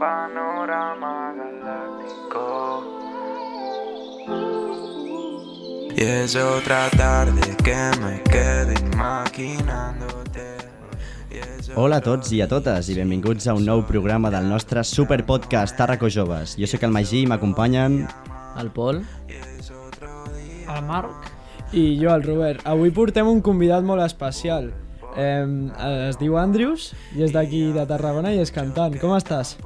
Panorama galáctico. Y es otra tarde que me quedo imaginándote. Y es Hola a otra tots i a totes i benvinguts a un nou programa del nostre superpodcast Tarraco Joves. Jo sóc el Magí i m'acompanyen... El Pol? el Marc i jo, el Robert. Avui portem un convidat molt especial. Eh, es diu Andrius i és d'aquí de Tarragona i és cantant. Com estàs?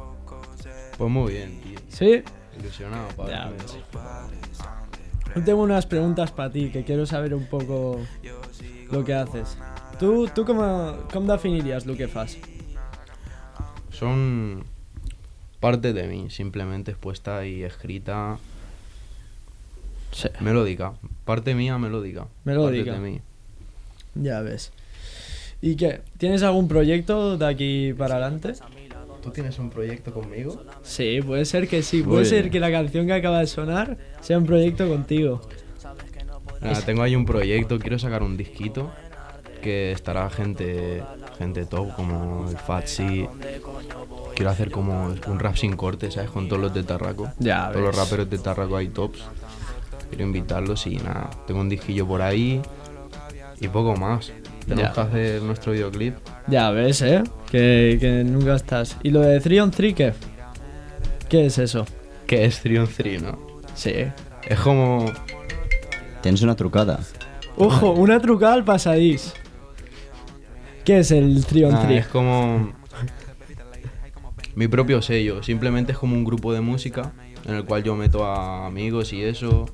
Pues muy bien, tío. Sí? Ilusionado, para Ya, ver. ves. Tengo unas preguntas para ti que quiero saber un poco lo que haces. ¿Tú, tú cómo, cómo definirías lo que haces? Son parte de mí, simplemente expuesta y escrita. Sí. Melódica. Parte mía melódica. Melódica. Parte de mí. Ya ves. ¿Y qué? ¿Tienes algún proyecto de aquí para adelante? ¿Tú tienes un proyecto conmigo? Sí, puede ser que sí. Muy Puede ser bien. que la canción que acaba de sonar sea un proyecto contigo. tengo ahí un proyecto, quiero sacar un disquito que estará gente gente top como el Fatsi. Quiero hacer como un rap sin corte, ¿sabes? Con todos los de Tarraco. Ya Todos ves. los raperos de Tarraco hay tops. Quiero invitarlos y nada, tengo un disquillo por ahí y poco más. Tenemos Ya. que hacer nuestro videoclip. Ya ves, ¿eh? Que, que nunca estás. ¿Y lo de 3 on 3 qué? ¿Qué es eso? Que es 3 on 3, ¿no? Sí. Es como... Tens una trucada. Ojo, una trucada al pasadís. ¿Qué es el 3 on nada, 3? es como... Mi propio sello. Simplemente es como un grupo de música en el cual yo meto a amigos y eso.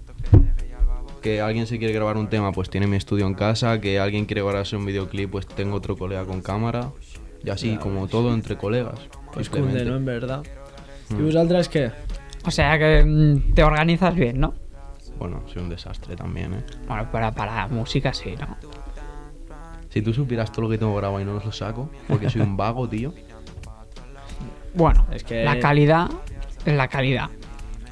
Que alguien se quiere grabar un tema, pues tiene mi estudio en casa. Que alguien quiere grabarse un videoclip, pues tengo otro colega con cámara. Y así, como todo entre colegas. Pues cunde, simplemente. ¿no? En verdad. ¿Y vosotras qué? O sea que mm, te organizas bien, ¿no? Bueno, soy un desastre también, ¿eh? Bueno, para, para la música sí, ¿no? Si tú supieras todo lo que tengo grabado y no os lo saco, porque soy un vago, tío. Bueno, Es que- la calidad es la calidad.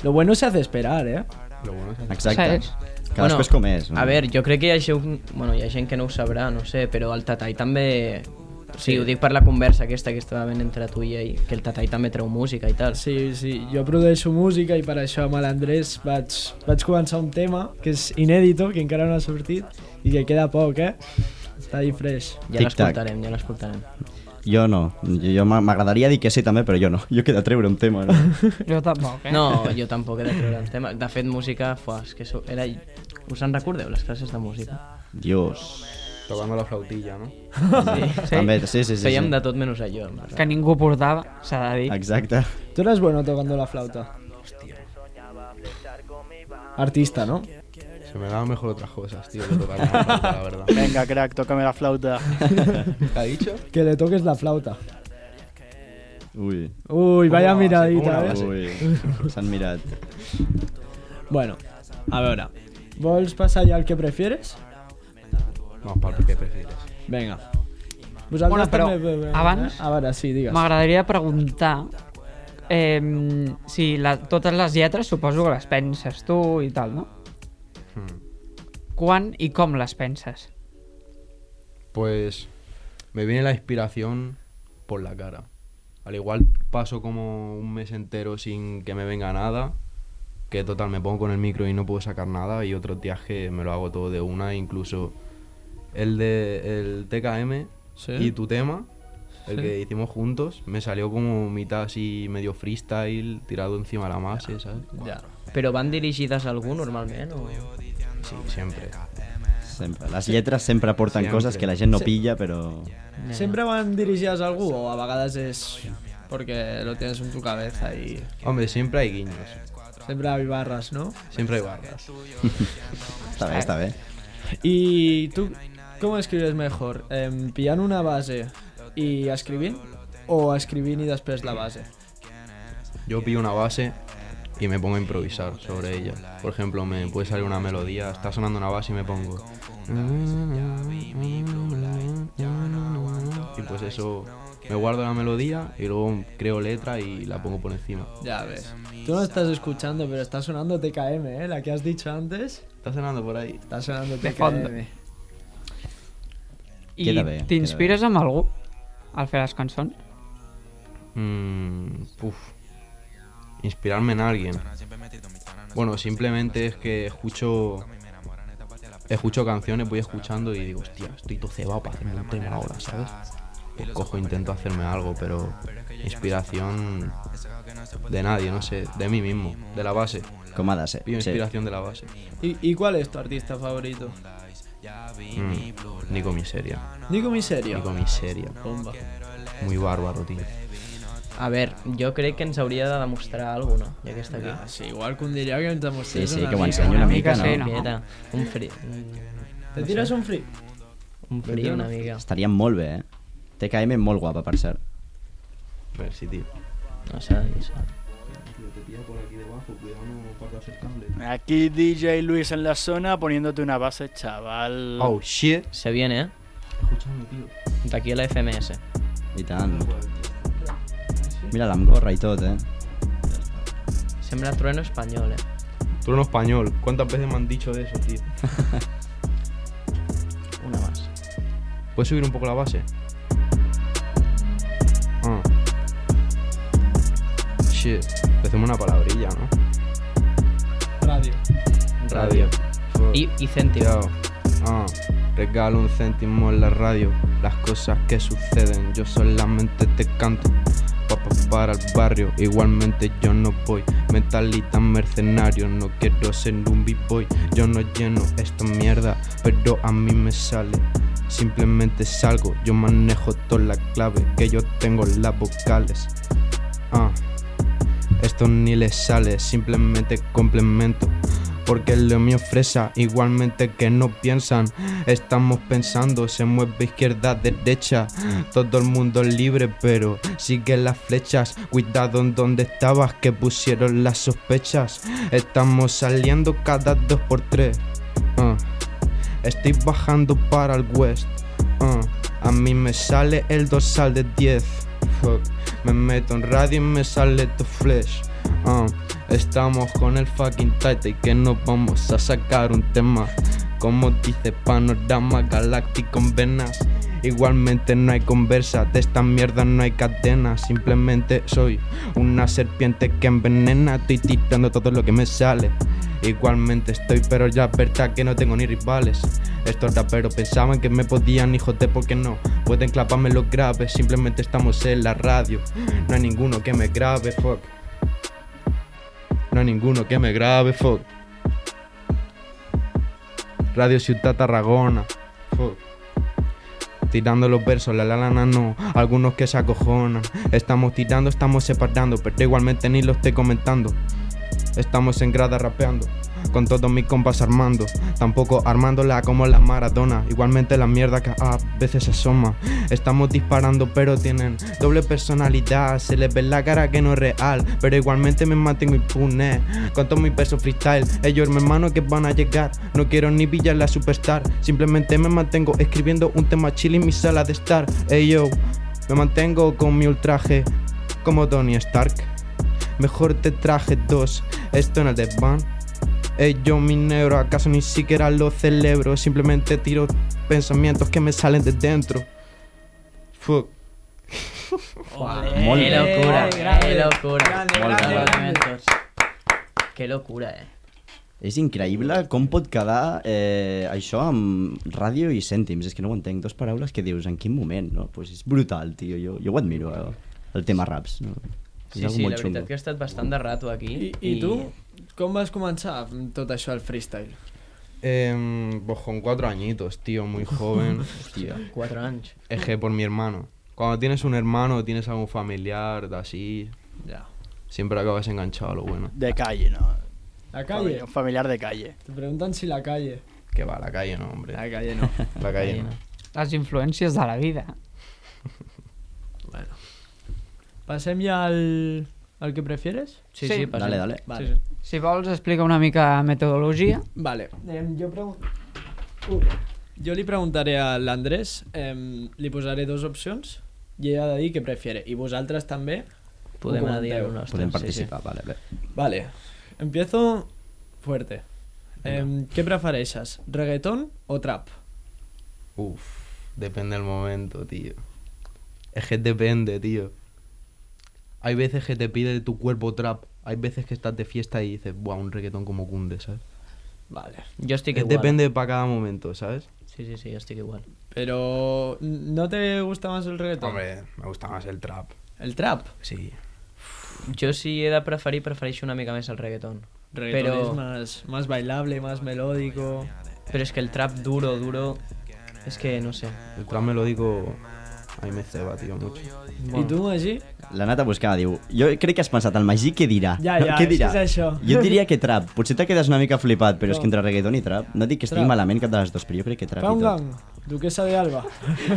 Lo bueno se hace esperar, ¿eh? Lo bueno es Exacte. Saps? Que després com és. A veure, jo crec que hi ha, gent, bueno, hi ha gent que no ho sabrà, no sé, però el Tatai també... Sí, ho dic per la conversa aquesta que estava ben entre tu i ell, que el Tatai també treu música i tal. Sí, sí, jo produeixo música i per això amb l'Andrés vaig, vaig començar un tema que és inèdito, que encara no ha sortit i que queda poc, eh? Està ahí fresh. Ja Tic-tac. l'escoltarem, ja l'escoltarem. Jo no. Jo, jo m'a- m'agradaria dir que sí també, però jo no. Jo he de treure un tema. No? Yo tampoco, ¿eh? No, jo tampoc he de treure el tema. De fet, música, fuà, és que so, era... Us en recordeu, les classes de música? Dios. Tocando la flautilla, ¿no? Sí, També, sí, sí, sí. Sí, sí. Fèiem de tot menys allò. en veritat. Que ningú portava, s'ha de dir. Exacte. Tu eres bueno tocando la flauta. Artista, ¿no? Se me daban mejor otras cosas, tío, que tocar la flauta, la verdad. Venga, crack, tócame la flauta. ¿Qué ha dicho? Que le toques la flauta. Ui. Uy, vaya ¿Cómo la va a hacer? ¿Cómo miradita, la va a ¿eh? hacer? Ui. S'han mirat. Bueno, a veure. Vols passar ja al que prefieres? Vamos para el que prefieres. Vinga. Vosaltres Bueno, però també... abans- Eh? A veure, sí, digues. M'agradaria preguntar eh, si la, totes les lletres suposo que les penses tu i tal, no? Quan i com les penses? Pues me viene la inspiración por la cara. Al igual paso como un mes entero sin que me venga nada, que total me pongo con el micro y no puedo sacar nada, y otros días que me lo hago todo de una, incluso el de el TKM Sí. y tu tema, el que hicimos juntos, me salió como mitad así medio freestyle, tirado encima de la masa, ¿sabes? Ja. Però van dirigides a algú normalment? O... Sí, siempre. Sempre. Les lletres sempre porten Sempre. coses que la gent no pilla, però... Sempre van dirigides a algú o a vegades és perquè lo tienes en tu cabeza i Hombre, siempre hay guiños, sempre hi barres, no? siempre hay barras. Està bé, està bé. I tu com escribes mejor? Eh, pillant una base i escrivint o escrivint i després la base? Yo pillo una base, y me pongo a improvisar sobre ella. Por ejemplo, me puede salir una melodía, está sonando una base y me pongo. Y pues eso, me guardo la melodía y luego creo letra y la pongo por encima. Ya ves. Tú no estás escuchando, pero está sonando TKM, ¿eh? La que has dicho antes. Está sonando por ahí. Está sonando De fondo. TKM. I Queda bé, t'inspires amb algú al fer les cançons? Mm, puf. Inspirarme en alguien. Bueno, simplemente es que escucho. Escucho canciones, voy escuchando y digo, hostia, estoy todo cebado para hacerme un tema ahora, ¿sabes? Pues cojo, intento hacerme algo, pero inspiración de nadie, no sé, de mí mismo, de la base. Com ha de ser. Pido Sí. inspiración de la base. ¿Y, y cuál es tu artista favorito? Mm, Nico Miseria. Nico Miserio. Nico Miseria. Bomba. Muy bárbaro, tío. A ver, jo crec que ens hauria de demostrar alguna, cosa, ja que està aquí. Ah, sí, igual que un diría que ens Sí, demostrés sí, una que ho mica. ensenyi una mica, sí, no? no? Miqueta, un fri... Te tiras un free. Un Doncs fri una mica. Estaria molt bé, eh? TKM molt guapa, per cert. A ver si, tío. No s'ha de dir això. Aquí DJ Luis en la zona poniéndote una base, chaval. Oh, shit. Se viene, eh? Escúchame, tío. D'aquí a la FMS. I tant. Mira-la amb gorra i tot, eh? Sembla trueno espanyol, eh? Trueno español. ¿Cuántas veces me han dicho de eso, tío? Una más. ¿Puedes subir un poco la base? Ah. Shit. Empecemos una palabrilla, ¿no? Radio. Radio. I, i cèntim. Yo, ah, regalo un céntimo en la radio. Las cosas que suceden, yo solamente te canto. Papá para el barrio, igualmente yo no voy. Mentalita mercenario, no quiero ser un b-boy. Yo no lleno esta mierda, pero a mí me sale. Simplemente salgo, yo manejo toda la clave, que yo tengo las vocales. Ah, esto ni les sale, simplemente complemento. Porque lo mío fresa, igualmente que no piensan. Estamos pensando, se mueve izquierda, derecha. Todo el mundo libre, pero sigue las flechas. Cuidado en donde estabas, que pusieron las sospechas. Estamos saliendo cada dos por tres. Ah. Estoy bajando para el west. ah. A mí me sale el dorsal de 10. Fuck. Me meto en radio y me sale tu flesh. ah. Estamos con el fucking Titan que nos vamos a sacar un tema. Como dice Panorama Galáctico en venas. Igualmente no hay conversa, de esta mierda no hay cadena. Simplemente soy una serpiente que envenena. Estoy tirando todo lo que me sale. Igualmente estoy, pero ya es verdad que no tengo ni rivales. Estos raperos pensaban que me podían hijos de porque no. Pueden clavarme los graves, simplemente estamos en la radio. No hay ninguno que me grabe, fuck. No hay ninguno que me grabe, fuck. Radio Ciutat Tarragona, fuck. Tirando los versos, la la la la, no, algunos que se acojonan. Estamos tirando, estamos separando, pero igualmente ni lo estoy comentando. Estamos en grada rapeando, con todos mis compas armando. Tampoco armándola como la Maradona. Igualmente la mierda que a veces asoma. Estamos disparando, pero tienen doble personalidad. Se les ve la cara que no es real, pero igualmente me mantengo impune. Con todos mis versos freestyle, ellos, mi hermano, que van a llegar. No quiero ni pillar la superstar. Simplemente me mantengo escribiendo un tema chill en mi sala de estar. Ey yo, me mantengo con mi ultraje, como Tony Stark. Mejor te traje dos, esto en el desván. Ey, yo mi negro, acaso ni siquiera lo celebro. Simplemente tiro pensamientos que me salen de dentro. Fuck. Molt Que bé. locura, que Grande, locura. grande, Molt grande, bé. grande. Elementos. Que locura, eh? És increïble com pot quedar eh, això amb ràdio i cèntims. És que no ho entenc. Dos paraules que dius, en quin moment, no? Pues és brutal, tio. Jo, jo ho admiro, eh? el tema raps. No? És Sí, algo sí, la molt veritat xungo. que he estat bastant de rato aquí. I, I tu, com vas començar amb tot això al freestyle? pues con cuatro añitos, tío, muy joven. Hostia. 4 anys. Es que por mi hermano. Cuando tienes un hermano, tienes algún familiar, de así. Ja. Siempre acabas enganchado a lo bueno. De calle, ¿no? La calle. Un familiar de calle. Te preguntan si la calle. Que va, la calle no, hombre. La calle no. La calle no. Les influències de la vida. Passem ja al, el que prefieres? Sí, sí, Sí. passa. Dale, dale. Vale. Si vols, explica una mica metodologia. Vale. Em, jo, pregun... Uh. jo li preguntaré a l'Andrés, em, li posaré dues opcions i ella ha de dir què prefiere. I vosaltres també. Podem ho anar dient comenteu. el nostre. Podem sí, sí. participar, vale, vale. Vale. Empiezo fuerte. Em, què prefereixes, reggaeton o trap? Uf, depende del momento, tío. Es que depende, tío. Hay veces que te pide tu cuerpo trap, hay veces que estás de fiesta y dices, buah, un reggaetón como cunde, ¿sabes? Vale. Jo estic Es igual. Depende. Eh, depende para cada momento, ¿sabes? Sí, sí, sí, jo estic igual. Però no te gusta más el reggaeton? Hombre, me gusta más el trap. El trap? Sí. Jo si he de preferir, prefereixo una mica més el reggaeton. Reggaeton Però- es más, más bailable, más melódico. Però és que el trap duro, duro... És que no sé. El trap melódico a mí me ceba, tío, mucho. I tu, Magí? L'ha anat a buscar, diu, jo crec que has pensat, el Magí què dirà? Ja, ja, què és dirà? que és això. Jo et diria que trap, potser te quedes una mica flipat, però és No. que entre reggaeton i trap, no dic que estigui Trap. malament cap de les dues, però jo crec que trap Fa i un tot. gang. Duquesa de Alba.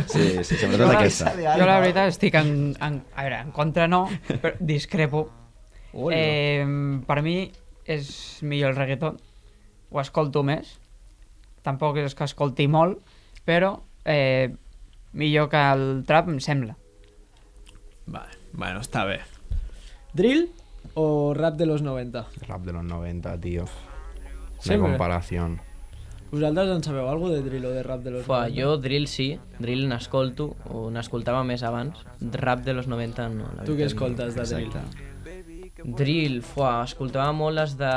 Sí, sí, sobretot Tota aquesta. Jo la veritat estic en, en, a veure, en contra no, però discrepo. Eh, per mi és millor el reggaeton, ho escolto més, tampoc és que escolti molt, però eh, millor que el trap em sembla. Vale, bueno, està bé. Drill o rap de los 90? Rap de los 90, tío. Sí, Sin hombre. comparación. Vosaltres en sabeu alguna de drill o de rap de los Fua, 90? jo drill sí, drill n'escolto, o n'escoltava més abans. Rap de los 90 no, la Tu què veritat, no. escoltes de drill? Exacte. Drill, fuà, escoltava molt les de...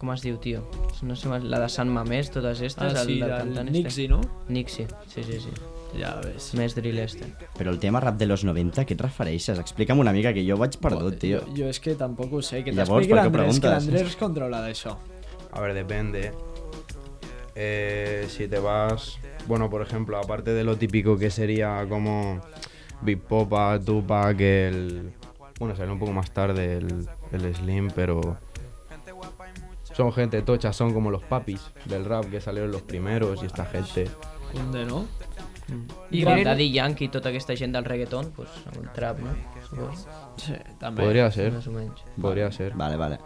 Com es diu, tio? No sé, la de Sant Mamés, totes Ah, estes, sí, el del del cantant Nixie, no? este. Nixie, sí, sí, sí. Ja ves. Més drill este. Però el tema rap de los 90, a què et refereixes? Explica'm una mica, que jo vaig perdut, tio. Jo és que tampoc ho sé, que Llavors, t'expliqui per què l'Andrés, que preguntes? l'Andrés controla d'això. A ver, depende. Eh, si te vas, bueno, por ejemplo, aparte de lo típico que sería como Big Popa, Tupac, el... Bueno, salió un poco más tarde el, el Slim, pero... Son gente tocha, son como los papis del rap que salieron los primeros y esta gente. Conde, no? I I com drill- Daddy Yankee i tota aquesta gent del reggaeton, doncs, amb el trap, no? Suposo, Sí, també. Podría ser, més o menys. podría ser. Vale, vale.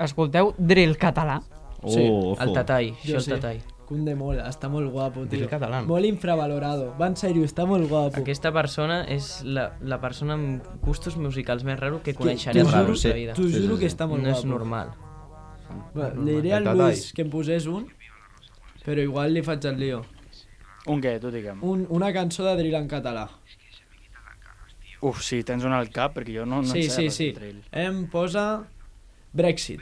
Escolteu drill català. Sí, Oh, ojo. El tatall, Jo això el sí. tatall. Conde molt, està molt guapo, tio. Drill català. Molt infravalorado. Va, en sèrio, està molt guapo. Aquesta persona és la, la persona amb gustos musicals més raro que Que coneixeré a t'ho la juro- sí. vostra vida. T'ho Sí, sí, juro sí. que està molt No és guapo. normal. Va, li diré al El tatall. Luis que em posés un, però igual li faig el lío. Un què, tu digue'm. Un, una cançó de drill en català. Uf, sí, tens un al cap, perquè jo no, no sí, en sé sí, res sí. de drill. Em posa Brexit.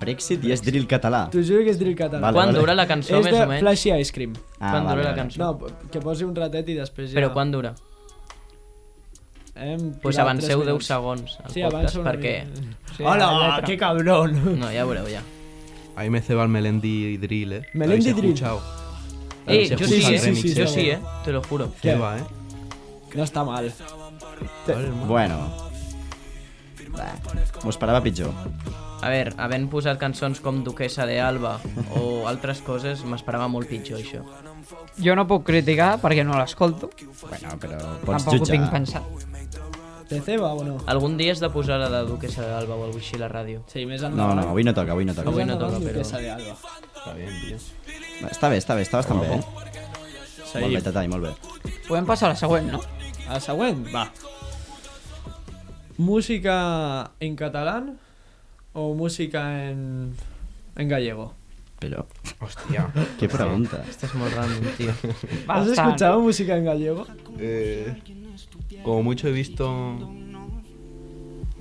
Brexit i és drill català. T'ho juro que és drill català. Vale, Quan vale. dura la cançó, és més de o menys? Flashy Ice Cream. Ah, Quan dura la cançó? No, que posi un ratet i després ja... Però quan dura? Em, Doncs pues durarà avanceu tres 10 minuts. segons al Sí, podcast avança una perquè... mica. Sí, Hola, que cabrón. No, ja ho veureu, ja. Ahí me ceba el Melendi Drill, ¿eh? ¿Lo habéis Melendi Drill. escuchado? Eh, Habéis jo escuchado sí, el eh? remix, sí, sí, jo sí. sí, eh? Te lo juro. Que ¿Qué? va, eh? No està mal. Bueno. Va, M'ho esperava pitjor. A veure, havent posat cançons com Duquesa de Alba o altres coses, m'esperava molt pitjor, això. Jo no puc criticar perquè no l'escolto, Bueno, però pots tampoc ho jutjar. tinc pensat. Te ceba o no? Algun dia has de posar la de Duquesa de Alba o alguna així a la ràdio. Sí, més No, endavant. no, avui no toca, avui no toca. Avui no endavant, toca, però- Duquesa de Alba. Está bien, tío. Està bé, està bé, està bastant bé, eh? Molt bé, Seguim. Tatall, molt bé. Podem passar a la següent, no? A següent, va. Música en català o música en... en gallego? Però, Hostia. què pregunta? Aquesta és molt random, tio. Has escuchado música en gallego? Eh, como mucho he visto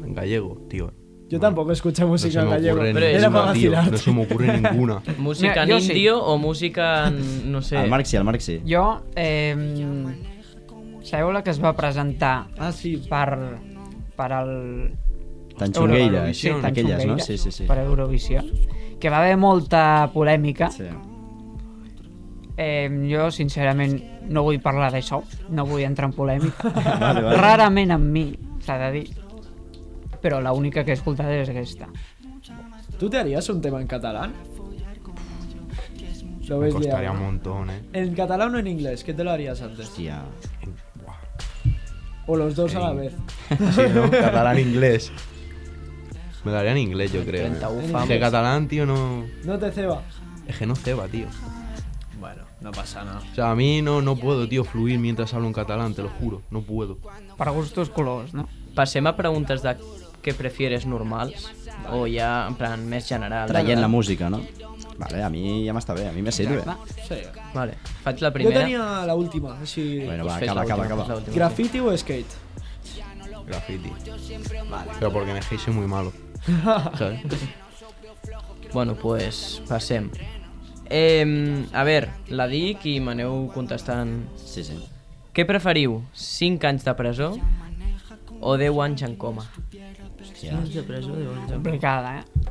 en gallego, tío. Yo tampoco escuché música no se me en gallego. ocurre pero era ninguna, para tío. vacilar. No se me ocurre ninguna. Música en Mira, jo sí. indio o música en... no sé... El Marc sí, el Marc sí. Jo, eh, sabeu la que es va presentar Ah, sí. per, per al... Tan xungueira, Eurovisió, sí, tan aquelles, no? xungueira, Sí, sí, sí. Per Eurovisió. Que va haver molta polèmica. Sí. Eh, jo, sincerament, no vull parlar d'això. No vull entrar en polèmica. Vale, vale. Rarament amb mi, s'ha de dir. Però l'única que he escoltat és aquesta. ¿Tú te harías un tema en catalán? Lo Me ves costaría liado. un montón, eh. ¿En catalán o en inglés? ¿Qué te lo harías antes? Hòstia. O los dos a la vez. Sí, ¿no? Catalán inglés. Me daría en inglés, yo creo. 31 eh. Es famos. que catalán, tío, no. No te ceba. Es que no ceba, tío. Bueno, no pasa nada. O sea, a mí no, no puedo, tío, fluir mientras hablo en catalán, te lo juro. No puedo. Per gustos colors, no? Passem a preguntes de què prefieres normals o ja, en plan, més general. Traient la música, no? Vale, a mi ja m'està bé, a mi me sirve. Va. Sí. Vale, faig la Yo primera. tenía la última, así. Bueno, va, Fes acaba, acaba, l'última, acaba. fes l'última. ¿Graffiti o skate? Graffiti. Pero porque en el soy muy malo. ¿Sabes? Bueno, pues passem. Eh, a veure, la dic i m'aneu contestant. Sí, sí. Què preferiu? 5 anys de presó o 10 anys en coma? Hòstia. de presó, 10 anys en Complicada, eh?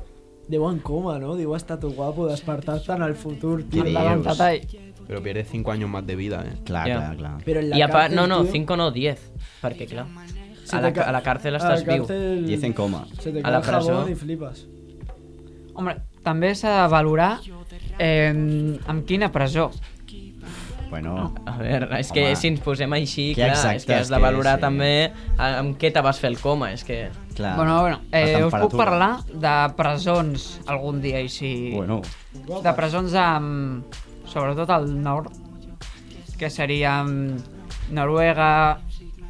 De buen coma, ¿no? Digo, hasta tu guapo, despertar tan al futuro, tío. Dios. Davant Tatall. Pero pierdes 5 años más de vida, ¿eh? Clar, Ja. clar, clar. Pero en la I a part, cárcel, no, no, tío, 5 no, 10, perquè clar, se a te la, ca- a la càrcel a la estàs viu. cárcel 10 en coma. Se te A cae la el jabón presó. y flipas. Home, també s'ha de valorar eh, amb quina presó. Bueno, A veure, és Home. que si ens posem així, Que clar, exacte, és que has és de que valorar sí. també a- amb què te vas fer el coma, és que... clar. Bueno, bueno, eh, Ah, La us puc temperatura. parlar de presons algun dia, i si... Bueno, De presons amb... sobretot al nord, que serien Noruega,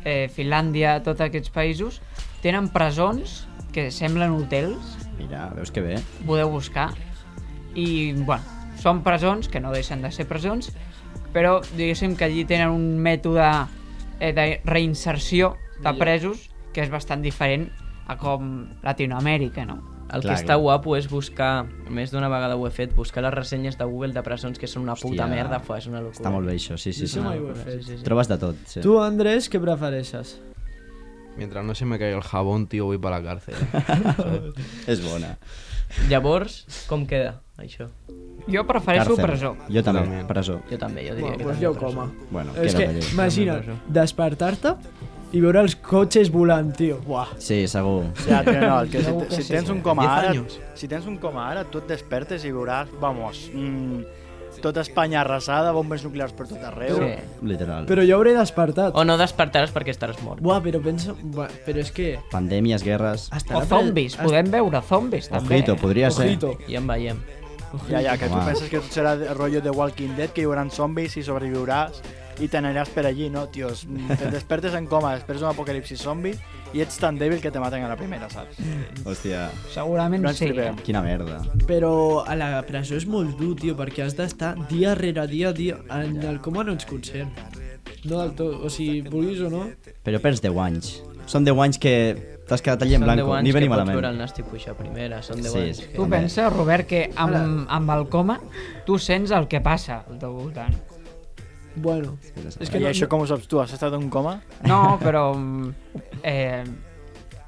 eh, Finlàndia, tots aquests països, tenen presons que semblen hotels, mira, veus que bé. ho podeu buscar, i, bueno, són presons que no deixen de ser presons, però diguéssim que allí tenen un mètode eh, de reinserció de presos que és bastant diferent a com Latinoamèrica, no? El Clar, que està clar. guapo és buscar, més d'una vegada ho he fet, buscar les ressenyes de Google de presons que són una puta Hòstia, merda, fa, és una locura. Està molt bé això, sí, sí, sí. Això mai ho Una he locura, fet. sí, sí, sí. Trobes de tot, sí. ¿Tú, Andrés, qué prefereixes? Mientras no se me caiga el jabón, tío, voy para la cárcel. ¿eh? És bona. Llavors, com queda això? Jo prefereixo presó. Jo també, També. presó. Jo també, jo diria Bueno, que pues també yo presó. coma. Bueno, Es queda que, que... Llei. imagina, despertar-te i veure els cotxes volant, tio. Buah. Sí, segur. Ja, tio, no, el que si, No, te- si sí, tens sí. un coma 10 ara, años. si tens un coma ara, tu et despertes i veuràs, vamos, mm, tota Espanya arrasada, bombes nuclears per tot arreu. Sí. Literal. Però jo hauré despertat. O no despertaràs perquè estaràs mort. Buah, però penso... Buah, però és que... Pandèmies, guerres... Hasta O zombies, podem veure zombies també. Ojito, podria ser. Ojito. Ja en veiem. Ja, ja, que tu Home. penses que tot serà de- rotllo de Walking Dead, que hi haurà zombis i sobreviuràs i t'aniràs per allí, no, tios? Mm, Te despertes en coma després d'un apocalipsi zombi i ets tan dèbil que te maten a la primera, saps? Hòstia, Segurament No Doncs ens sí. eh? flipem. quina merda. Però a la presó és molt dur, tio, perquè has d'estar dia rere dia, dia... En el coma no ets conscient. No del tot, o sigui, vulguis o no. Però perds 10 anys. Són 10 anys que t'has quedat allí en blanco, ni bé ni Són 10 anys que pots veure el malament. Nasti Puixa primera, són 10 Sí, anys. sí. Que... Tu pensa, Robert, que amb, amb el coma tu sents el que passa al teu voltant. Bueno, és que I no, això com ho saps tu? Has estat en coma? No, però... mm, Eh,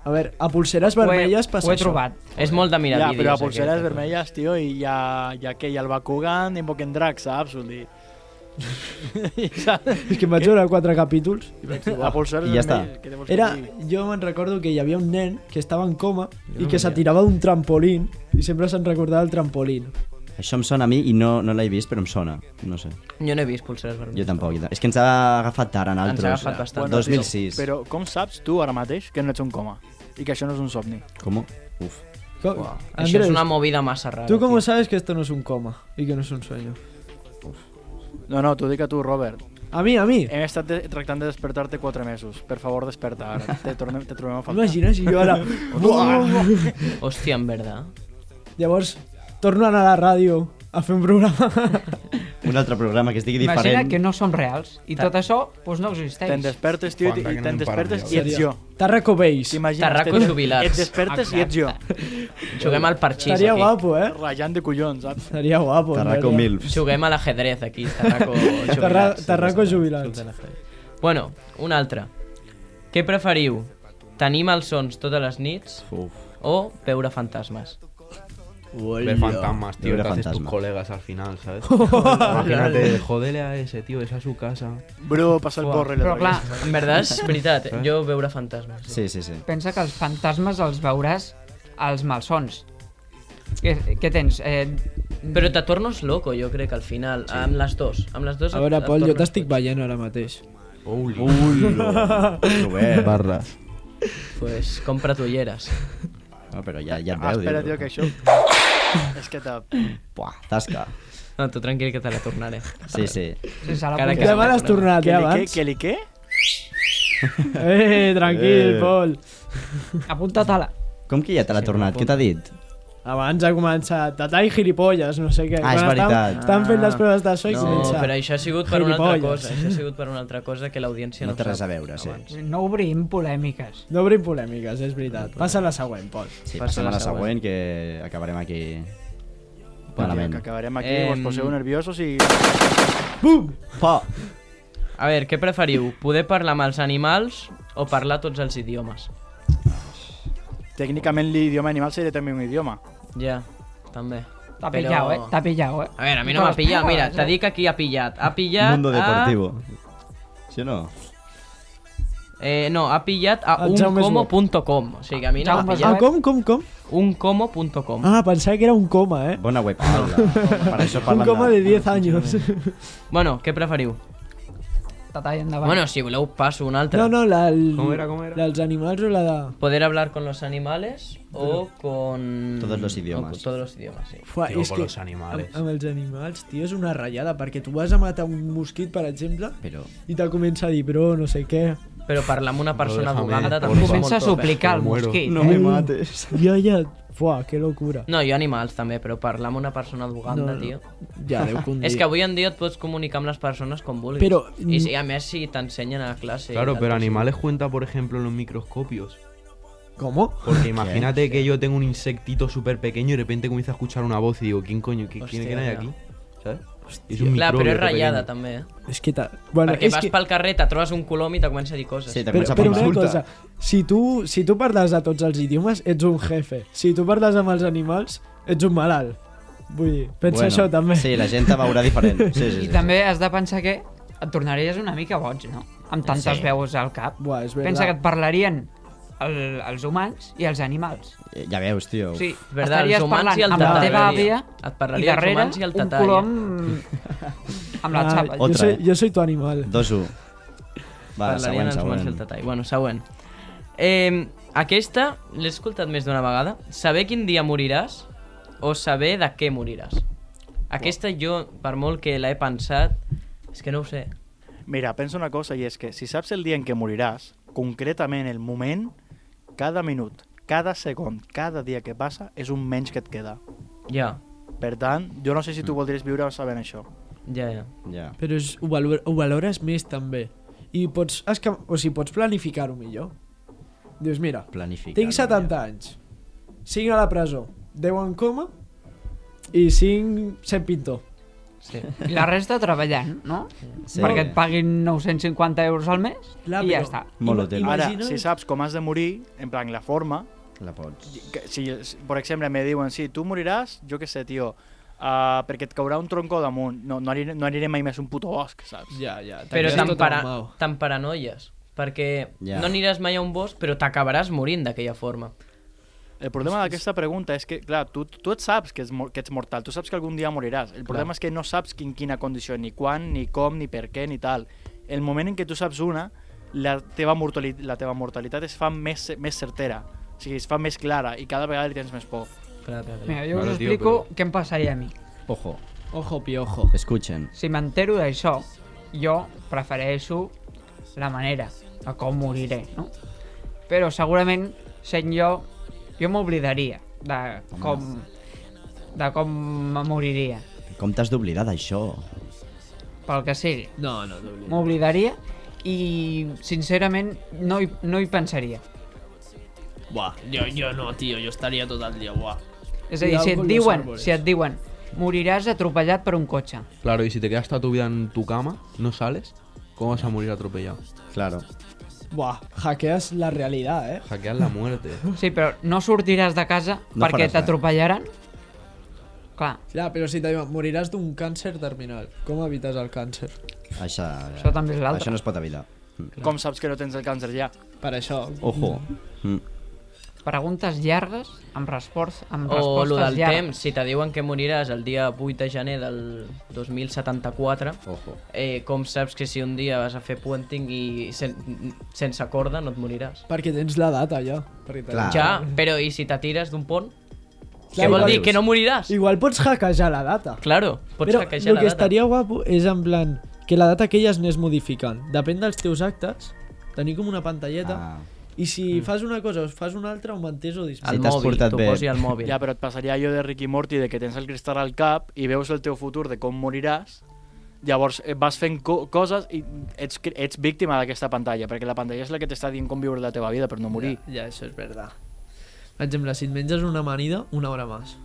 A veure, a pulseres ho, he, vermelles passa ho he això. trobat. És molt de mirar ja, vídeos. però a pulseres aquest. vermelles, tio, i ja, ja que hi ha el Bakugan, i Boken Drac, saps? Vull dir... I ja- És que em vaig veure quatre capítols i vaig dir, a pulseres I ja està. vermelles, què te vols que Era, digui? jo me'n recordo que hi havia un nen que estava en coma i que s'atirava d'un trampolín i sempre se'n recordava el trampolín. Això em sona a mi i no, no l'he vist, però em sona. No sé. Jo no he vist pulseres vermelles. Jo tampoc. És que ens ha agafat tard en ha altres. agafat bastant. Bueno, 2006. Però com saps tu ara mateix que no ets un coma? I que això no és un somni? Com? Uf. Com, Això Andrés, és una movida massa rara. tu com tio. sabes que esto no es un coma i que no es un sueño? No, no, t'ho dic a tu, Robert. A mi, a mi. Hem estat de, tractant de despertar-te 4 mesos. Per favor, desperta ara. Te, tornem, te trobem a faltar. Imagina si jo ara... Buah! Hòstia, en verdad. Llavors, torno a anar a la ràdio a fer un programa. Un altre programa que es digui diferent. Imagina que no som reals i tot això doncs no Te'n existeix. despertes, tio, i Quanta que no te'n en despertes parli, i ets jo. Tarraco Bass. T'imagines? Tarracos Te- jubilats. Et despertes i ets jo. Juguem al parxís Estaria aquí. guapo, eh? Rallant de collons, saps? Estaria guapo. en Tarraco veritat. Milfs. Juguem a l'ajedrez aquí, Tarraco Tarra jubilats. Tarraco jubilats. Bueno, un altre. Què preferiu? Tenir malsons totes les nits Uf. o veure fantasmes? Ver fantasmas, tío. Yo Te era haces tus fantasma. colegas al final, ¿sabes? Imagínate, jodele a ese, tío, es a su casa. Bro, passa el borre. Però clar, En veritat, és veritat, eh? jo veure fantasmes. Sí. Sí, sí, sí. pensa que els fantasmes els veuràs als malsons. Què, què tens? Eh, Però te tornes loco, jo crec, al final, sí. amb les dos. Amb les dos A veure, et- et Pol, jo tornes t'estic veient ara mateix. Holy. Robert. Barras. Pues compra tu ulleres. No, però ja, ja et Ah, veu, espera, tio, diu. que això... És que te... Buah, tasca. No, tu tranquil que te la tornaré. Sí, sí. Sense la Cara puta. que- Demà l'has tornat, Que eh, li què? abans? Que li què? Eh, tranquil, Eh. Pol. Apunta-te-la. Com que ja te l'ha tornat? Què t'ha dit? Abans ha començat tatall gilipolles, no sé què. Ah, és Quan estan- veritat. Estan fent les proves de so i No, comença. però això ha sigut per una altra Gilipolles. cosa. Això ha sigut per una altra cosa que l'audiència no, No té res a sap. veure, sí. No obrim polèmiques. No obrim polèmiques, és veritat. Passa la següent, Pol. Sí, Passa passem a la la següent, que acabarem aquí... Malament. Que acabarem aquí, Em, vos poseu nerviosos i... Pa! A veure, què preferiu? Poder parlar amb els animals o parlar tots els idiomes? Tècnicament l'idioma animal seria també un idioma. Ja, també. T'ha pillau, eh? T'ha pillau, eh? A veure, a mi Te no m'ha les pillat, pegues, mira, eh? t'ha dit que aquí ha pillat. Ha pillat Mundo ah. a... deportivo. Sí o no? Eh, no, ha pillat a El Jaume és bo. uncomo.com. O sigui, a mi no m'ha Jaume és Ah, pillat. com, com, com? Uncomo.com. Ah, pensava que era un coma, eh? Bona web. Paula. Per això Un parlen coma de 10 anys. Bueno, què preferiu? Tatall endavant. Bueno, si voleu passo una altra. No, no, la, el, Com era, com era? la dels animals o la de... Poder hablar con los animales o con... Todos los idiomas. o con todos los idiomas, sí. Fuà, Tio, és con que los animales. Amb, amb els animals, tio, és una ratllada, perquè tu vas a matar un mosquit, per exemple, Però... i te comença a dir, però no sé què. Però parlar amb una persona déjame, por d'Uganda també és Comença a molt torpe. suplicar al Me muero. mosquit. me mates. Ja, ja, fuà, que locura. No, jo animals també, però parlar amb una persona No, d'Uganda, no. tio. Ja, deu condir. És que avui en dia et pots comunicar amb les persones com vulguis. Però- I si, a més si t'ensenyen a la clase... Claro, i pero tal, pues sí. animales cuenta, por ejemplo, los microscopios. ¿Cómo? Porque imagínate que yo tengo un insectito súper pequeño y de repente comienzo a escuchar una voz y digo, ¿quién coño? ¿Qui- Hostia, ¿Quién, quién hay ya. aquí? ¿Sabes? Es Clar, microbio però és todo ratllada pequeño. també, eh? És que... Ta... Bueno, Perquè és vas que... pel carrer, te trobes un colom i te comença a dir coses. Sí, te Però, comença a però una parlar. cosa, si tu, si tu parles a tots els idiomes, ets un jefe. Si tu parles amb els animals, ets un malalt. Vull dir, pensa això també. Sí, la gent te veurà diferent. Sí, sí, sí, I sí. també has de pensar que et tornaries una mica boig, no? Amb tantes Sí. veus al cap. Buah, és Pensa que verdad. et parlarien el, els humans i els animals. Eh, Ja veus, tio. Sí, És verdad, estaries els humans parlant i el amb la tatà. teva àvia Et parlaria i els darrere humans i el un tatà, colom amb la Ah, xapa. jo, Otra, soy, eh? jo soy tu animal. 2-1. Va, Parlarien següent, els humans i el següent. tatall. Bueno, següent. Eh, aquesta l'he escoltat més d'una vegada. Saber quin dia moriràs o saber de què moriràs. Aquesta jo, per molt que l'he pensat, és que no ho sé. Mira, pensa una cosa i és que si saps el dia en què moriràs, concretament el moment, cada minut, cada segon, cada dia que passa, és un menys que et queda. Ja, Per tant, jo no sé si tu voldries viure sabent això. ja, ja. Ja. Però és, ho, valor, ho valores més també. I pots, esca... o sigui, pots planificar-ho millor. Dius, mira, Planifica. tinc 70 anys, 5 a la presó, 10 en coma i 5 sent pintor. Sí. I la resta treballant, no? Sí. Perquè et paguin 950 euros al mes Clar, i ja però- està. Molt hotel. Ara, Imagina't- si saps com has de morir, en plan, la forma, La pots. que, si, si, per exemple, me diuen, sí, tu moriràs, jo què sé, tio, uh, perquè et caurà un tronco damunt, no, no, aniré, no aniré mai més a un puto bosc, saps? Ja, ja. Però t'has tan, tot para... traumau. tan paranoies. Perquè Ja. no aniràs mai a un bosc, però t'acabaràs morint d'aquella forma. El problema d'aquesta pregunta és que, clar, tu, tu et saps que ets, mor- que ets mortal, tu saps que algun dia moriràs. El problema és que no saps en quina condició, ni quan, ni com, ni per què, ni tal. El moment en què tu saps una, la teva, mortali la teva mortalitat es fa més, més certera, o sigui, es fa més clara i cada vegada li tens més por. Clar, clar, clar. Mira, jo Vale, us tio, explico què em passaria a mi. Ojo. Ojo piojo. Escuchen. Si m'entero d'això, jo prefereixo la manera de com moriré, no? Però segurament, sent jo, jo m'oblidaria de com, de com me moriria, Com t'has d'oblidar d'això? pel que sigui. No, no, no. M'oblidaria i, sincerament, no hi, no hi pensaria. Buah, yo, yo no, tío, yo estaría todo el día, buah. És a dir, Cuidado si et con los diuen, árboles. si et diuen moriràs atropellat per un cotxe, Claro, y si te quedas toda tu vida en tu cama, no sales, ¿cómo vas a morir atropellado? Claro. Buah, hackeas la realidad, eh? Hackear la muerte. sí, però no sortiràs de casa No perquè faràs res. t'atropellaran? Clar, Clar, però si t'adiuen, moriràs d'un càncer terminal. Com evites el càncer? Això, eh, això també és l'altre. això no Mm. es pot evitar. Com saps que no tens el càncer ja? Per això. Ojo. Mm. Preguntes llargues amb, respost, amb O respostes lo del llargues. temps, si te diuen que moriràs el dia 8 de gener del 2074, Ojo. eh, com saps que si un dia vas a fer puenting i sen sense corda no et moriràs? Perquè tens la data, ja. Perquè te- Clar. Ah. Ja, però i si te tires d'un pont? Clar, Què vol igual- dir? Que no moriràs? Igual pots hackejar la data. Claro, pots Però hackejar el la que data. estaria guapo és en plan que la data aquella es anés modificant. Depèn dels teus actes, tenir com una pantalleta Ah. i si Mm. fas una cosa o fas una altra, ho mantens o disminuïs. Al Si t'has mòbil, portat t'ho bé. posi al mòbil. Ja, però et passaria allò de Ricky Morty, de que tens el cristal al cap i veus el teu futur de com moriràs, llavors eh, vas fent co coses i ets, cre- ets víctima d'aquesta pantalla, perquè la pantalla és la que t'està dient com viure la teva vida per no morir. Ja, ja, això és verdad. Per exemple, si et menges una amanida, una hora més.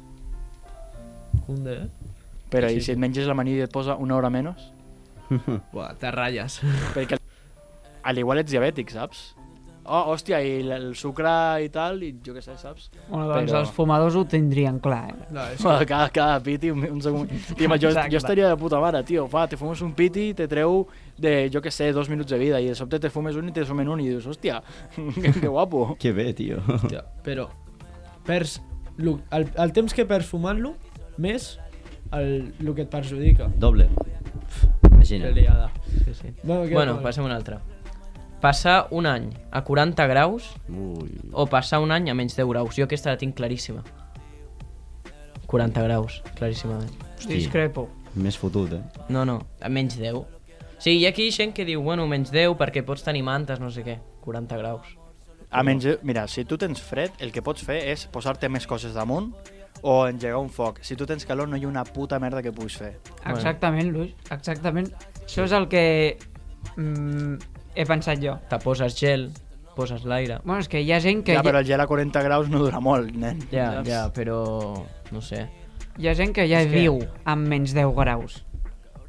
Cunde, eh? Però Sí, i si et menges la manida i et posa una hora menys? Buah, te ratlles. Perquè al igual ets diabètic, saps? Oh, hòstia, i l- el sucre i tal, i jo què sé, saps? Bueno, doncs Però- els fumadors ho tindrien clar, eh? No, és... Ah. Cada, cada piti, un, un segon... Tio, jo, Exacte. jo estaria de puta mare, tio. Va, te fumes un piti, te treu de, jo què sé, dos minuts de vida, i de sobte te fumes un i te sumen un, i dius, hòstia, que, que guapo. Que bé, tio. Ja, però perds lo- el, el temps que perds fumant-lo més el, el que et perjudica. Doble. Que Imagina't. liada. Sí, sí. Bueno, què Bueno, tal? passem a una altra. Passar un any a 40 graus Ui. o passar un any a menys 10 graus. Jo aquesta la tinc claríssima. 40 graus, claríssimament. Hosti. Discrepo. Més fotut, eh? No, no, a menys 10. Sí, hi ha aquí gent que diu, bueno, menys 10 perquè pots tenir mantes, no sé què. 40 graus. A menys, mira, si tu tens fred, el que pots fer és posar-te més coses damunt o engegar un foc. Si tu tens calor, no hi ha una puta merda que puguis fer. Exactament, Luis, exactament. Això és el que mm, he pensat jo. Te poses gel, poses l'aire. Bueno, és que hi ha gent que... ja, però el gel a 40 graus no dura molt, nen. Ja, ja, però... No sé. Hi ha gent que ja És que- viu amb menys 10 graus.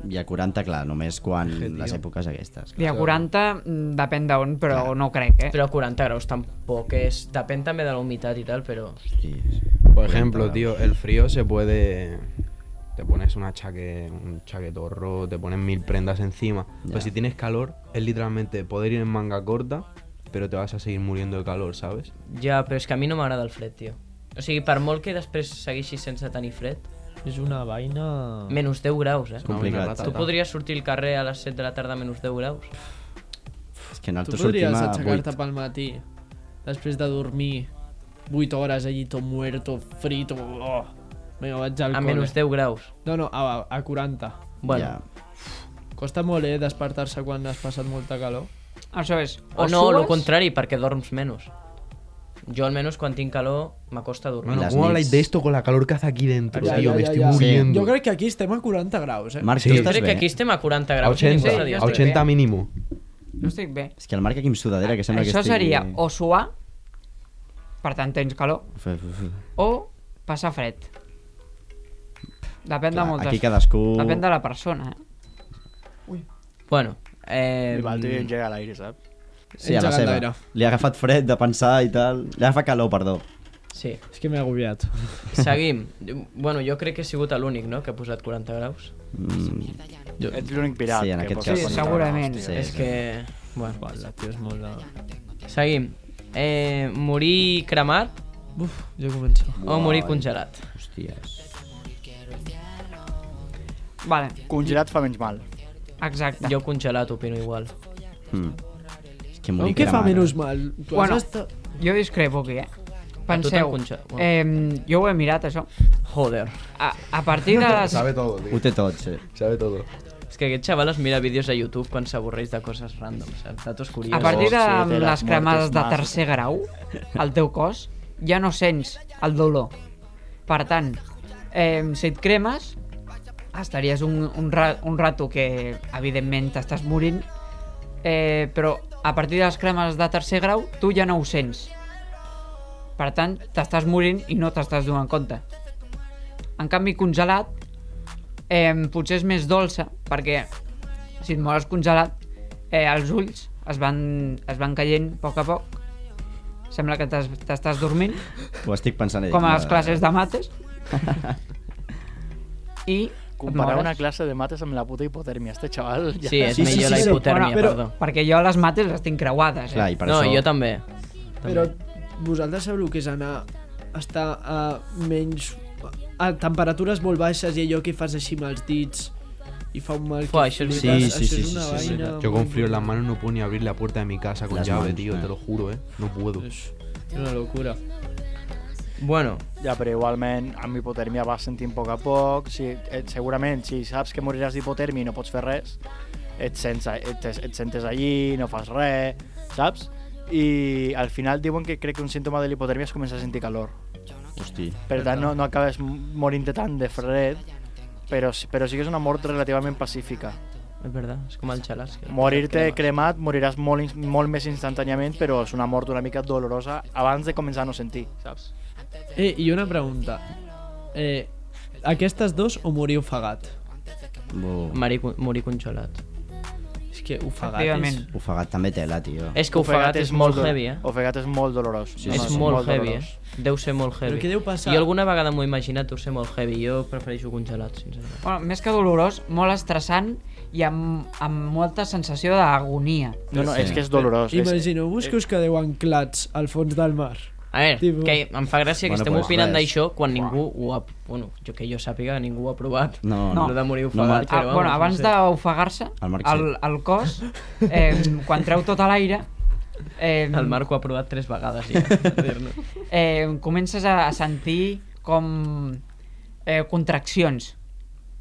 I a 40, clar, només quan les èpoques aquestes. I a 40 mm, depèn d'on, però no crec, eh? Però a 40 graus tampoc és... Depèn també de la humitat i tal, però... Hosti. Por ejemplo, tío, el frío se puede. Te pones una chaque, un chaquetorro, te pones mil prendas encima. Ya. Pero si tienes calor, es literalmente poder ir en manga corta, pero te vas a seguir muriendo de calor, ¿sabes? Ja, però és que a mi no m'agrada el fred, tio. O sigui, per molt que després segueixis sense tenir fred, És una vaina... menys 10 graus, eh? Una vaina complicat. rata, Tu tal. podries sortir al carrer a les 7 de la tarda a menys 10 graus? És que Tu nosaltres sortim podries a aixecar-te 8. pel matí, després de dormir 8 hores allí tot muerto, frito... Oh. Vinga, vaig al A col·le. menys 10 graus. No, no, a, a 40. Bueno, Ja. Costa molt, eh, despertar-se quan has passat molta calor. Això és... O no, sues- el contrari, perquè dorms menys. Jo almenys quan tinc calor m'acosta dormir. Mano, las ¿cómo habláis nits. de esto con la calor que hace aquí dentro, Ya, tío? ya, me ya, estoy ya. muriendo. Jo crec que aquí estem a 40 graus, eh? Marc, Sí. tu Jo estàs crec bé? que aquí estem a 40 A graus. ningú s'ha 80, dit. a 80 mínimo. Jo estic bé. És que el Marc aquí amb sudadera, que sembla Això que estigui... seria o suar, per tant tens calor, Uf, uf, uf. o passar fred. Depèn de Clar, moltes... aquí cadascú... Depèn de la persona, eh? Bueno, eh... I va, tio, engega a l'aire, saps? Sí, a la Engegant seva. d'aire. Li ha agafat fred de pensar i tal. Li ha agafat calor, perdó. Sí, És que m'he agobiat. seguim. Bueno, jo crec que he sigut l'únic, no?, que ha posat 40 graus. Mm, Ets l'únic pirat. Sí, en que aquest cas, pot ser sí, quan segurament. t'agrada, Sí. hòstia. És que... Bueno, Uala, tio, és molt de... seguim. Eh, morir cremat Uf, jo començo. o morir congelat? hòsties. Vale, Congelat fa menys mal. exacte. Jo congelat opino igual. Mm. És que Com morir que fa cremat. menys mal? Tu Bueno. has estat... Jo discrepo aquí, eh? A tu Penseu, t'enconxa- bueno. eh, jo ho he mirat, això. Joder. A, a partir de les... todo, Ho té tot, sí. Sabe todo. És que aquest xaval es mira vídeos a YouTube quan s'avorreix de coses random, saps? Datos A curiosos. partir de Sí, té les les cremades mortes de massa. tercer grau, al teu cos, ja no sents el dolor. Per tant, eh, si et cremes, estaries un, un, ra, un rato que, evidentment, t'estàs morint, eh, però a partir de les cremes de tercer grau, tu ja no ho sents. Per tant, t'estàs morint i no t'estàs donant compte. En canvi, congelat, eh, potser és més dolça, perquè si et mores congelat, eh, els ulls es van, es van caient a poc a poc. Sembla que t'es- t'estàs dormint, Ho estic pensant. eh? com a les Mare. classes de mates. I et Comparar mores. una classe de mates amb la puta hipotèrmia. Este xaval... Ja... Sí, és Sí, sí, millor sí, la sí, hipotèrmia, Bueno, perdó. Perquè jo les mates les tinc creuades, eh? Clar, i per no, això... jo també. Però vosaltres sabeu que és anar a estar a menys a temperatures molt baixes i allò que fas així amb els dits i fa un mal que Fuà, això és flipes. veritat. Sí, sí, sí, és una sí, sí, sí, vaina Yo con molt frío en las manos no puedo ni abrir la puerta de mi casa con Las llave, manos, tío, eh. te lo juro, eh. No puedo. Una locura. Bueno, Ja, però igualment amb hipotèrmia vas sentint a poc a poc. Si, et, segurament, si saps que moriràs d'hipotèrmia i no pots fer res, et sents, a- et, et, et sentes allí, no fas res, saps? I al final diuen que crec que un símptoma de l'hipotèrmia és començar a sentir calor. Hosti. Per tant, no, no acabes morint-te tant de fred, però, sí- però sí que és una mort relativament pacífica. és verdad, és com el xalàs. que- Morir-te que crema. cremat, moriràs molt, ins- molt més instantàniament, però és una mort una mica dolorosa abans de començar a no sentir, saps? Eh, i una pregunta. Eh, aquestes dos o morir ofegat? Bo. Mari, morir congelat. És que ofegat Efectivament. és... Ofegat també tela, tio. És que ofegat és molt dolor- heavy, eh? Ofegat és molt dolorós. Sí, és sí, sí. molt, heavy, dolorós. eh? Deu ser molt heavy. Però què deu passar? Jo alguna vegada m'ho he imaginat, deu ser molt heavy. Jo prefereixo congelat, sincerament. Bueno, més que dolorós, molt estressant i amb, amb molta sensació d'agonia. No, no, Sí. és que és dolorós. És, Imagineu-vos que us quedeu anclats al fons del mar. A veure, Tipo- que em fa gràcia que Bueno, estem pues, opinant res. d'això quan ningú ho ha... Bueno, jo que jo sàpiga, ningú ho ha provat. No, No. no. Lo de morir No, ofegat, ma- Ah, però bueno, vamos, abans no sé. d'ofegar-se, El Marc el, el cos, eh, quan treu tot l'aire, eh, El Marc ho ha provat tres vegades, ja. per dir-ne. eh, comences a, a sentir com eh, contraccions,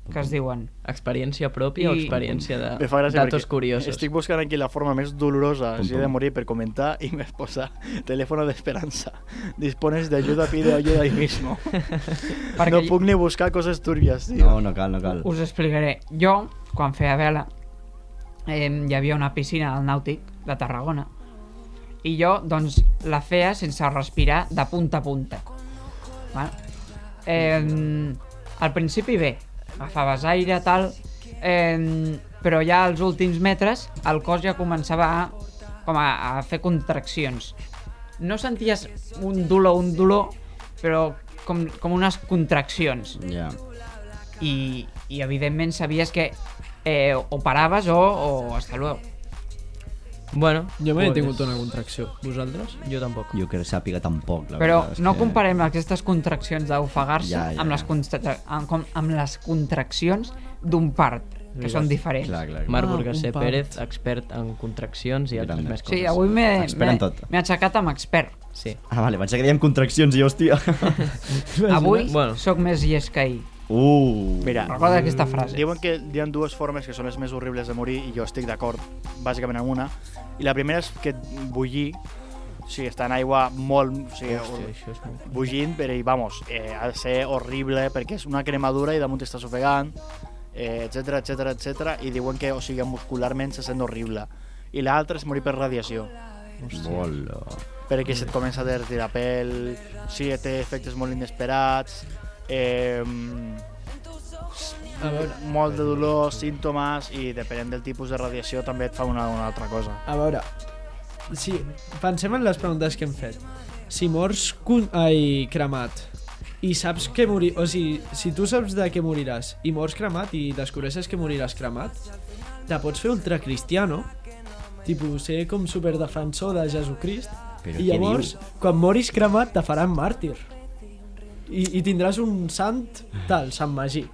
que es diuen. experiència pròpia o I- experiència de me fa gràcia datos perquè curiosos. Estic buscant aquí la forma més dolorosa així pum. de morir per comentar i m'es posa telèfon d'esperança. Dispones d'ajuda, pide ayuda ahí mismo. Perquè no jo- puc ni buscar coses turbias, tio. No, no cal, no cal. Us explicaré. Jo, quan feia vela, eh, hi havia una piscina al Nàutic de Tarragona i jo, doncs, la feia sense respirar de punta a punta. Vale? Eh, al principi bé, agafaves aire, tal, eh, però ja als últims metres el cos ja començava a, com a, a fer contraccions. No senties un dolor, un dolor, però com, com unes contraccions Ja. i, i evidentment sabies que eh, o paraves o, o hasta luego. Bueno, Jo mai he pues, tingut una contracció. Vosaltres? Jo tampoc. Jo que sàpiga tampoc, la Però veritat és no que- comparem aquestes contraccions d'ofegar-se Ja, ja, amb, les ja. contra- amb, com- amb les contraccions d'un part, que són diferents. Clar, clar. Marc Ah, Burgasser un pam. Pérez, expert en contraccions i altres Grande. més coses. Sí, avui m'he Expert en m'he- tot. m'he aixecat amb expert. Sí. Ah, vale, pensava que dèiem contraccions i hòstia. Avui Bueno. sóc més llest que ahir. Uh. Mira, Recorda aquesta frase. Diuen que hi ha dues formes que són les més horribles de morir i jo estic d'acord bàsicament amb una. I la primera és que et bullir, o sigui, està en aigua molt... O sigui, Hòstia, això és molt... bullint, però i vamos, eh, ha de ser horrible perquè és una cremadura i damunt estàs ofegant, eh, etc etc etc i diuen que, o sigui, muscularment se sent horrible. I l'altra és morir per radiació, Hola. perquè se't comença a derretir la pell, o sigui, té efectes molt inesperats, eh, A veure, molt de dolor, símptomes, i depenent del tipus de radiació també et fa una, una altra cosa. a veure. Si pensem en les preguntes que hem fet. Si mors con... Ai, cremat i saps que morir... O sigui, si tu saps de què moriràs i mors cremat i descobreixes que moriràs cremat, te pots fer ultracristiano, tipus ser com superdefensor de Jesucrist, Però i què llavors, diu? quan moris cremat, te faran màrtir. I, I tindràs un sant tal, Sant Magí.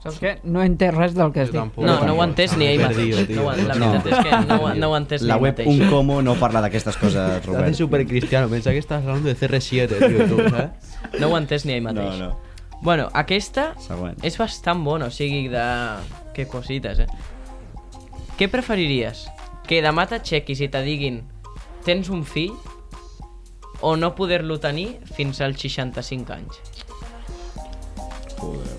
Saps què? No he entès res del que has Yo dit. tampoco. No, no ho he entès ni ell mateix. Perdido, tío. No, ho- la veritat és que no, ho- no ho he entès ni La ell web mateix. Un Como no parla d'aquestes coses, Te haces Robert. súper cristiano, pensaba que estabas hablando de CR7, tío, tú, ¿sabes? No ho he entès ni ell mateix. No, no. Bueno, aquesta Següent. és bastant bona, o sigui, de... Que cosites, eh? Què preferiries? Que demà t'aixequis i te diguin tens un fill o no poder-lo tenir fins als 65 anys? Joder.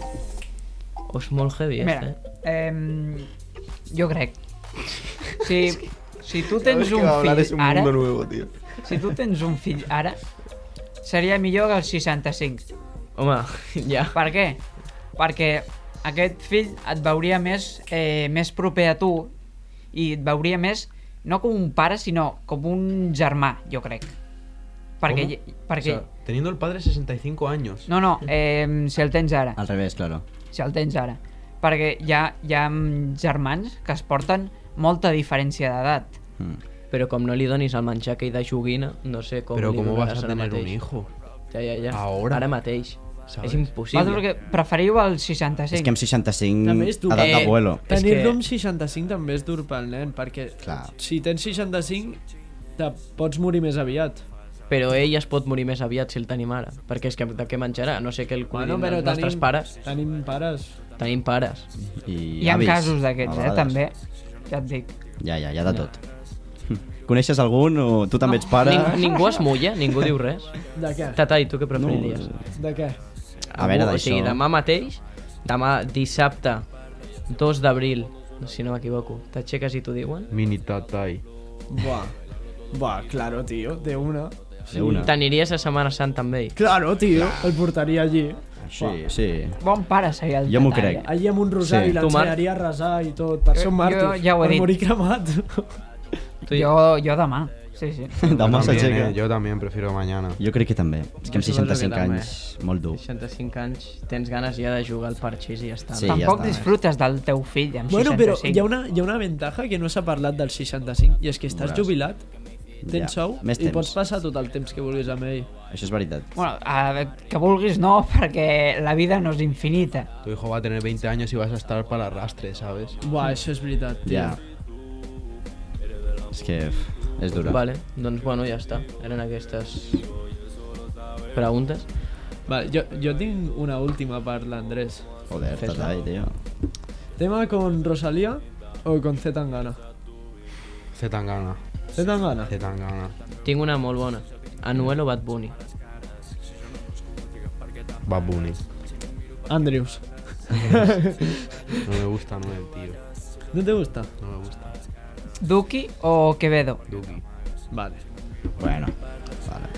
És molt heavy, Mira, eh? eh, jo crec. Si, si tu tens que un va a hablar es fill un ara... mundo nuevo, tío. Si tu tens un fill ara, seria millor que els 65. Home, ja. Per què? Perquè aquest fill et veuria més, eh, més proper a tu i et veuria més, no com un pare, sinó com un germà, jo crec. Perquè... Com? lle- O perquè sea, teniendo el padre 65 años. no, no, eh, si el tens ara. Al revés, claro. Si el tens ara. Perquè hi ha, hi ha mm, germans que es porten molta diferència d'edat. Mm. però com no li donis el menjar aquell de joguina, no sé com Pero li ¿cómo vas donaràs a ara tener un mateix. hijo? Ja, ja, ja. Ahora. Ara mateix. Sabes? És Vosaltres impossible. que preferiu el 65. És que amb 65, A més, tu- edat Eh, d'abuelo. És Tenir-lo que- amb 65 també és dur pel nen, perquè Clar. si tens 65 te pots morir més aviat. Però ell es pot morir més aviat si el tenim ara, perquè és que de què menjarà? No sé què el cuidin bueno, els nostres pares. Tenim pares. Tenim pares. I Hi ha avis, casos a d'aquests, eh, vegades. també. Ja et dic. Ja, ja, ja de tot. Coneixes algun o tu també ets pare? Ning, ningú es mulla, ningú diu res. De què? Tata, i tu què preferiries? De què? A veure, Avui, O sigui, d'això- demà mateix, demà dissabte 2 d'abril, si no m'equivoco, t'aixeques i t'ho diuen? Mini Tatai. Buah. Buah, claro, tio, té una. De una. T'aniries a Setmana Santa amb ell. Claro, tio, el portaria allí. Sí, sí. Bon pare seria el Jo m'ho Tatalla. crec. Allí amb un rosari Sí. sí. l'ensenyaria a resar i tot, per ser un Jo- màrtir, ja ho he per dit. morir cremat. Tu i- Jo, jo demà. Sí, sí. Demà también, s'aixeca. eh, yo también prefiero mañana. Jo crec que també. És que amb Jo suposo que 65 també. anys, molt dur. 65 anys, tens ganes ja de jugar al parxís i ja està. Sí, ja Tampoc està. disfrutes del teu fill amb Bueno, però 65. hi ha, una, hi ha una ventaja que no s'ha parlat del 65, i és que estàs Veuràs. jubilat, Ja, tens sou, més i temps. pots passar tot el temps que vulguis amb ell. Això és veritat. Bueno, a veure, que vulguis no, perquè la vida no és infinita. Tu hijo va a tener 20 años y vas a estar para arrastre, ¿sabes? Buah, això és veritat, tio. Ja. És que pff, és dura. Vale, doncs bueno, ja està. Eren aquestes preguntes. Vale, jo, jo tinc una última per l'Andrés. Joder, tatai, tio. ¿Tema con Rosalía o con Z Tangana? Zetangana. Z Tangana. Zetangana. Tinc una molt bona. Anuel o Bad Bunny? Bad Bunny. Andrews. No me gusta Noel, tío. ¿No te gusta? No me gusta. Duki o Quevedo? Duki. Vale. Bueno, vale.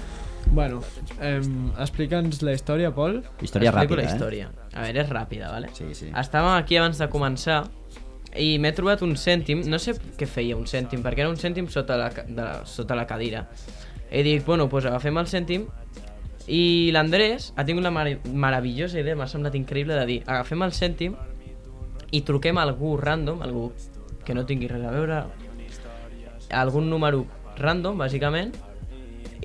Bueno, em, explica'ns la història, Pol. Història Explico ràpida, la eh? història. A veure, és ràpida, vale? Sí, sí. Estàvem aquí abans de començar i m'he trobat un cèntim, no sé què feia un cèntim, perquè era un cèntim sota la, ca- de la, sota la cadira. I dic, bueno, doncs agafem el cèntim i l'Andrés ha tingut la mar meravellosa idea, m'ha semblat increïble, de dir, agafem el cèntim i truquem a algú random, algú que no tingui res a veure, algun número random, bàsicament,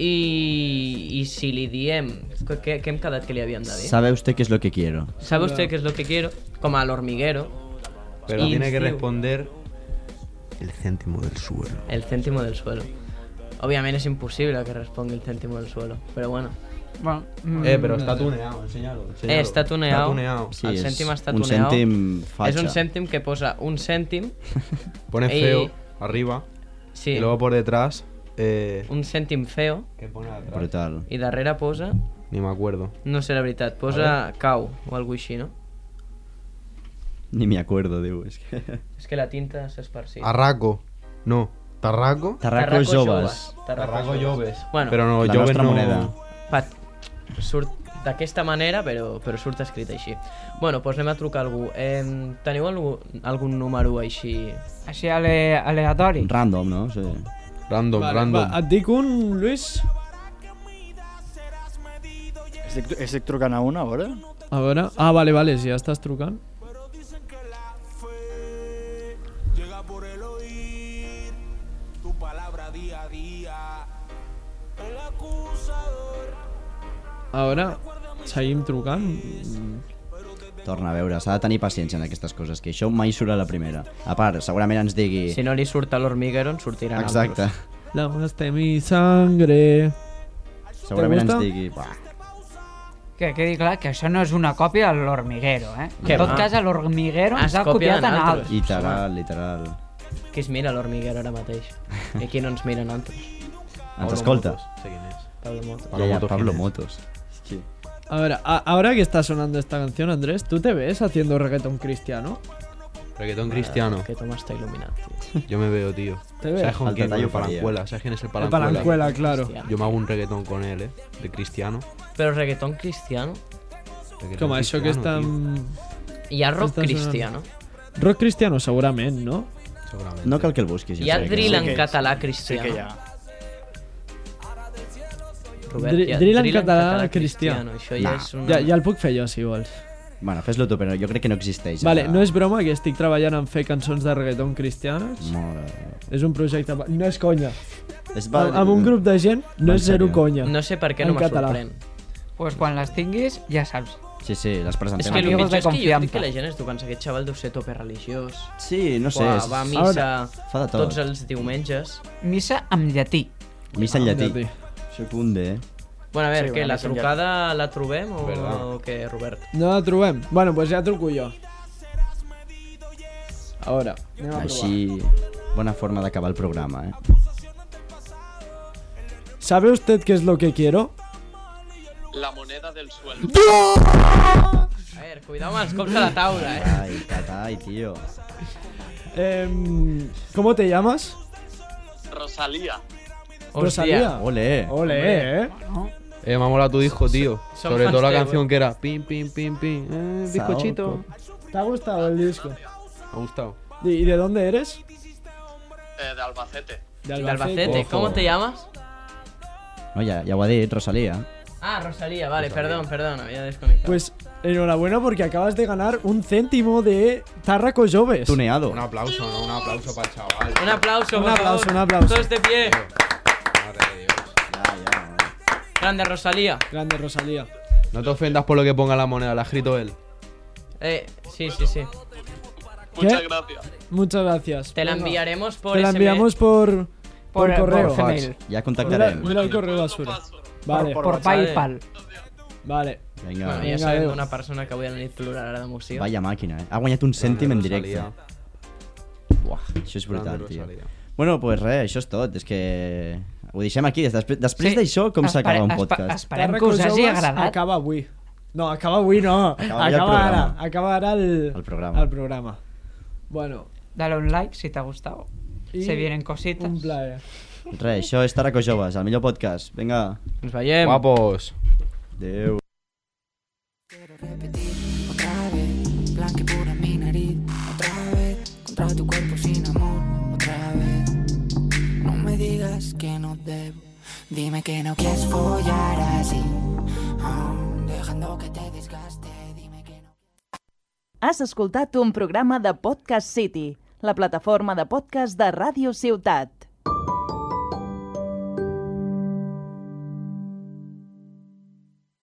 i, i si li diem que, que, que hem quedat que li havíem de dir. Sabe usted qué es lo que quiero. ¿Sabe usted qué es lo que quiero? Como al hormiguero, Pero Y tiene que Steve. responder el céntimo del suelo. el céntimo del suelo. Obviamente es imposible que responda el céntimo del suelo, pero bueno. Bueno, mm, Eh, pero está tuneado, enséñalo. enséñalo. Eh, está tuneado. Está tuneado. Sí, el és cèntim està un tuneado. cèntim Es fatxa. un céntim que posa un céntim. Pone Ey. feo arriba Sí, y luego por detrás. Eh, un cèntim feo. ¿Qué pone atrás? Brutal. I darrere posa... Ni me acuerdo. No sé la veritat, posa cau o alguna així, no? Ni me acuerdo, diu. És que... És que la tinta Este, s'ha esparcit. Arraco. No. Tarraco. Tarracos joves. Tarraco joves. Bueno, Pero no, La joven nostra no. moneda. Pat, surt d'aquesta manera, però, però surt escrit així. Bueno, doncs anem a trucar a algú. Eh, teniu algú, algun número així? Així ale, aleatori. Random, no? Sí. Random, random. va, et dic un, Luis? Estic, estic trucant a una, a veure. A veure... Ah, vale, vale, si ja estàs trucant. A veure, seguim trucant. Mm, Torna a veure, s'ha de tenir paciència en aquestes coses, que això mai surt a la primera. A part, segurament ens digui... Si no li surt a l'Hormiguero, en sortiran Exacte. altres. La mudaste mi sangre. Segurament ens gusta? digui... Bah, Que quedi clar que això no és una còpia a l'Hormiguero, eh? Què en tot va? cas, a l'Hormiguero Ah, ens es ha copiat copien en altres. altres. literal, literal. Qui es mira l'Hormiguero ara mateix? I aquí no ens miren altres. Ens escolta. sé quién es. Pablo Motos. Pablo Ja, ja, Motos, Pablo ¿quién es? Motos. Sí. A ver, a- ahora que está sonando esta canción, Andrés, ¿tú te ves haciendo reggaetón cristiano? Reggaetón cristiano. Que Toma està il·luminat, tio. Yo me veo, tío. Te veo. ¿Sabes con Al quién? Con detalle el Palancuela. ¿Sabes quién es el El Palancuela? palancuela, claro. Hòstia. Yo me hago un reggaetón con él, ¿eh? De cristiano. Però reggaeton cristiano? Reggaetón Como eso que está... cristiano, Hi ha rock Estàs sonant. cristiano? Rock cristiano, seguramente, ¿no? tío, Seguramente. No cal que el busquis. Hi ha sé que- drill en que- català Sí cristiano? que hi ha. Robert, Dri- hi ha drill en català cristiano. Això ja és una... Ya, ya el puc fer jo, si vols. Bueno, fes-lo tu, però jo crec que no existeix. Vale, Ah, no és broma que estic treballant en fer cançons de reggaeton cristianes. Mare de Déu. És un projecte... pa- No és conya. Es va- Amb, amb un grup de gent no En és zero sèrio? conya. No sé per què En no me català. sorprèn. Pues quan les tinguis, ja saps. Sí, sí, les presentem. És que el aquí. Amigos pitjor de és que jo crec confiança. que la gent es diu pensa aquest xaval deu ser tope religiós. Sí, no sé. Uah, és- va a és- missa Fa de tot. tots els diumenges. Missa amb llatí. Missa en llatí. Llatí. Soc un de... Bueno, a veure, Sí, què, una la missa en trucada la trobem o, Verdad. o què, Robert? No la trobem. Bueno, pues ja truco jo. A veure, anem a provar. Així, bona forma d'acabar el programa, eh? ¿Sabe usted qué es lo que quiero? La moneda del sueldo. A veure, cuidao amb els cops a la taula, eh? Ai, catai, tio. Em, ¿Cómo te llamas? Rosalía. Rosalía. Ole. Ole, eh. Eh, me ha molado tu disco, tío. son Sobre todo la fans de- canción que era pim, pim, pim, pim. Eh, bizcochito. ¿Te ha gustado el disco? Me ha gustado. ¿Y y de dónde eres? Eh, de Albacete. De De Albacete, Ojo. ¿cómo te llamas? No, ja, ja ho ha dit, Rosalia. Ah, Rosalía, vale, perdón, perdón, había desconectado. Pues enhorabuena porque acabas de ganar un céntimo de Tarraco Joves. Tuneado. Un aplauso, ¿no? Un aplauso para el chaval. un aplauso, un por aplauso, favor. un aplauso. Todos de pie. Madre de Dios. Grande Rosalía. Grande Rosalía. No te ofendas por lo que ponga la moneda, la ha escrito él. Eh, sí, sí, sí. Muchas ¿Qué? gracias. Muchas gracias. Te la Venga. enviaremos por Te la SMS. enviamos por, por, correo. Gmail. Ja mira, contactarem. mira el correo basura. Vale, Por, Por por WhatsApp. Paypal. vale. Vinga, Bueno, va. ja Vinga, sabem adéu. una persona que avui a la nit plorarà d'emoció. Vaya màquina, eh? Ha guanyat un cèntim en directe. Rosalía. Buah, això és brutal, Grande tio. Rosalía. Bueno, pues res, això és tot. És que ho deixem aquí. Des- Després, després d'això, com Espere- s'acaba un espe- podcast? Esperem que us Tarraco hagi Joves agradat. Acaba avui. No, acaba avui no. Acaba Acaba, ja el ara. programa. Acaba ara el, El programa. el programa. Bueno, Dale un like si te ha gustado. Y Se vienen cositas. un plaer. Res, això és Taraco Joves, el millor podcast. Vinga, Ens veiem. Guapos. adeu. Quiero repetir otra vez, blanque pura mi nariz, otra vez, contra tu cuerpo sin amor, otra vez. No me digas que no debo, dime que no quieres follar así, ah, dejando que te desgaste, dime que no. Has escoltat un programa de Podcast City, la plataforma de podcast de Ràdio Ciutat.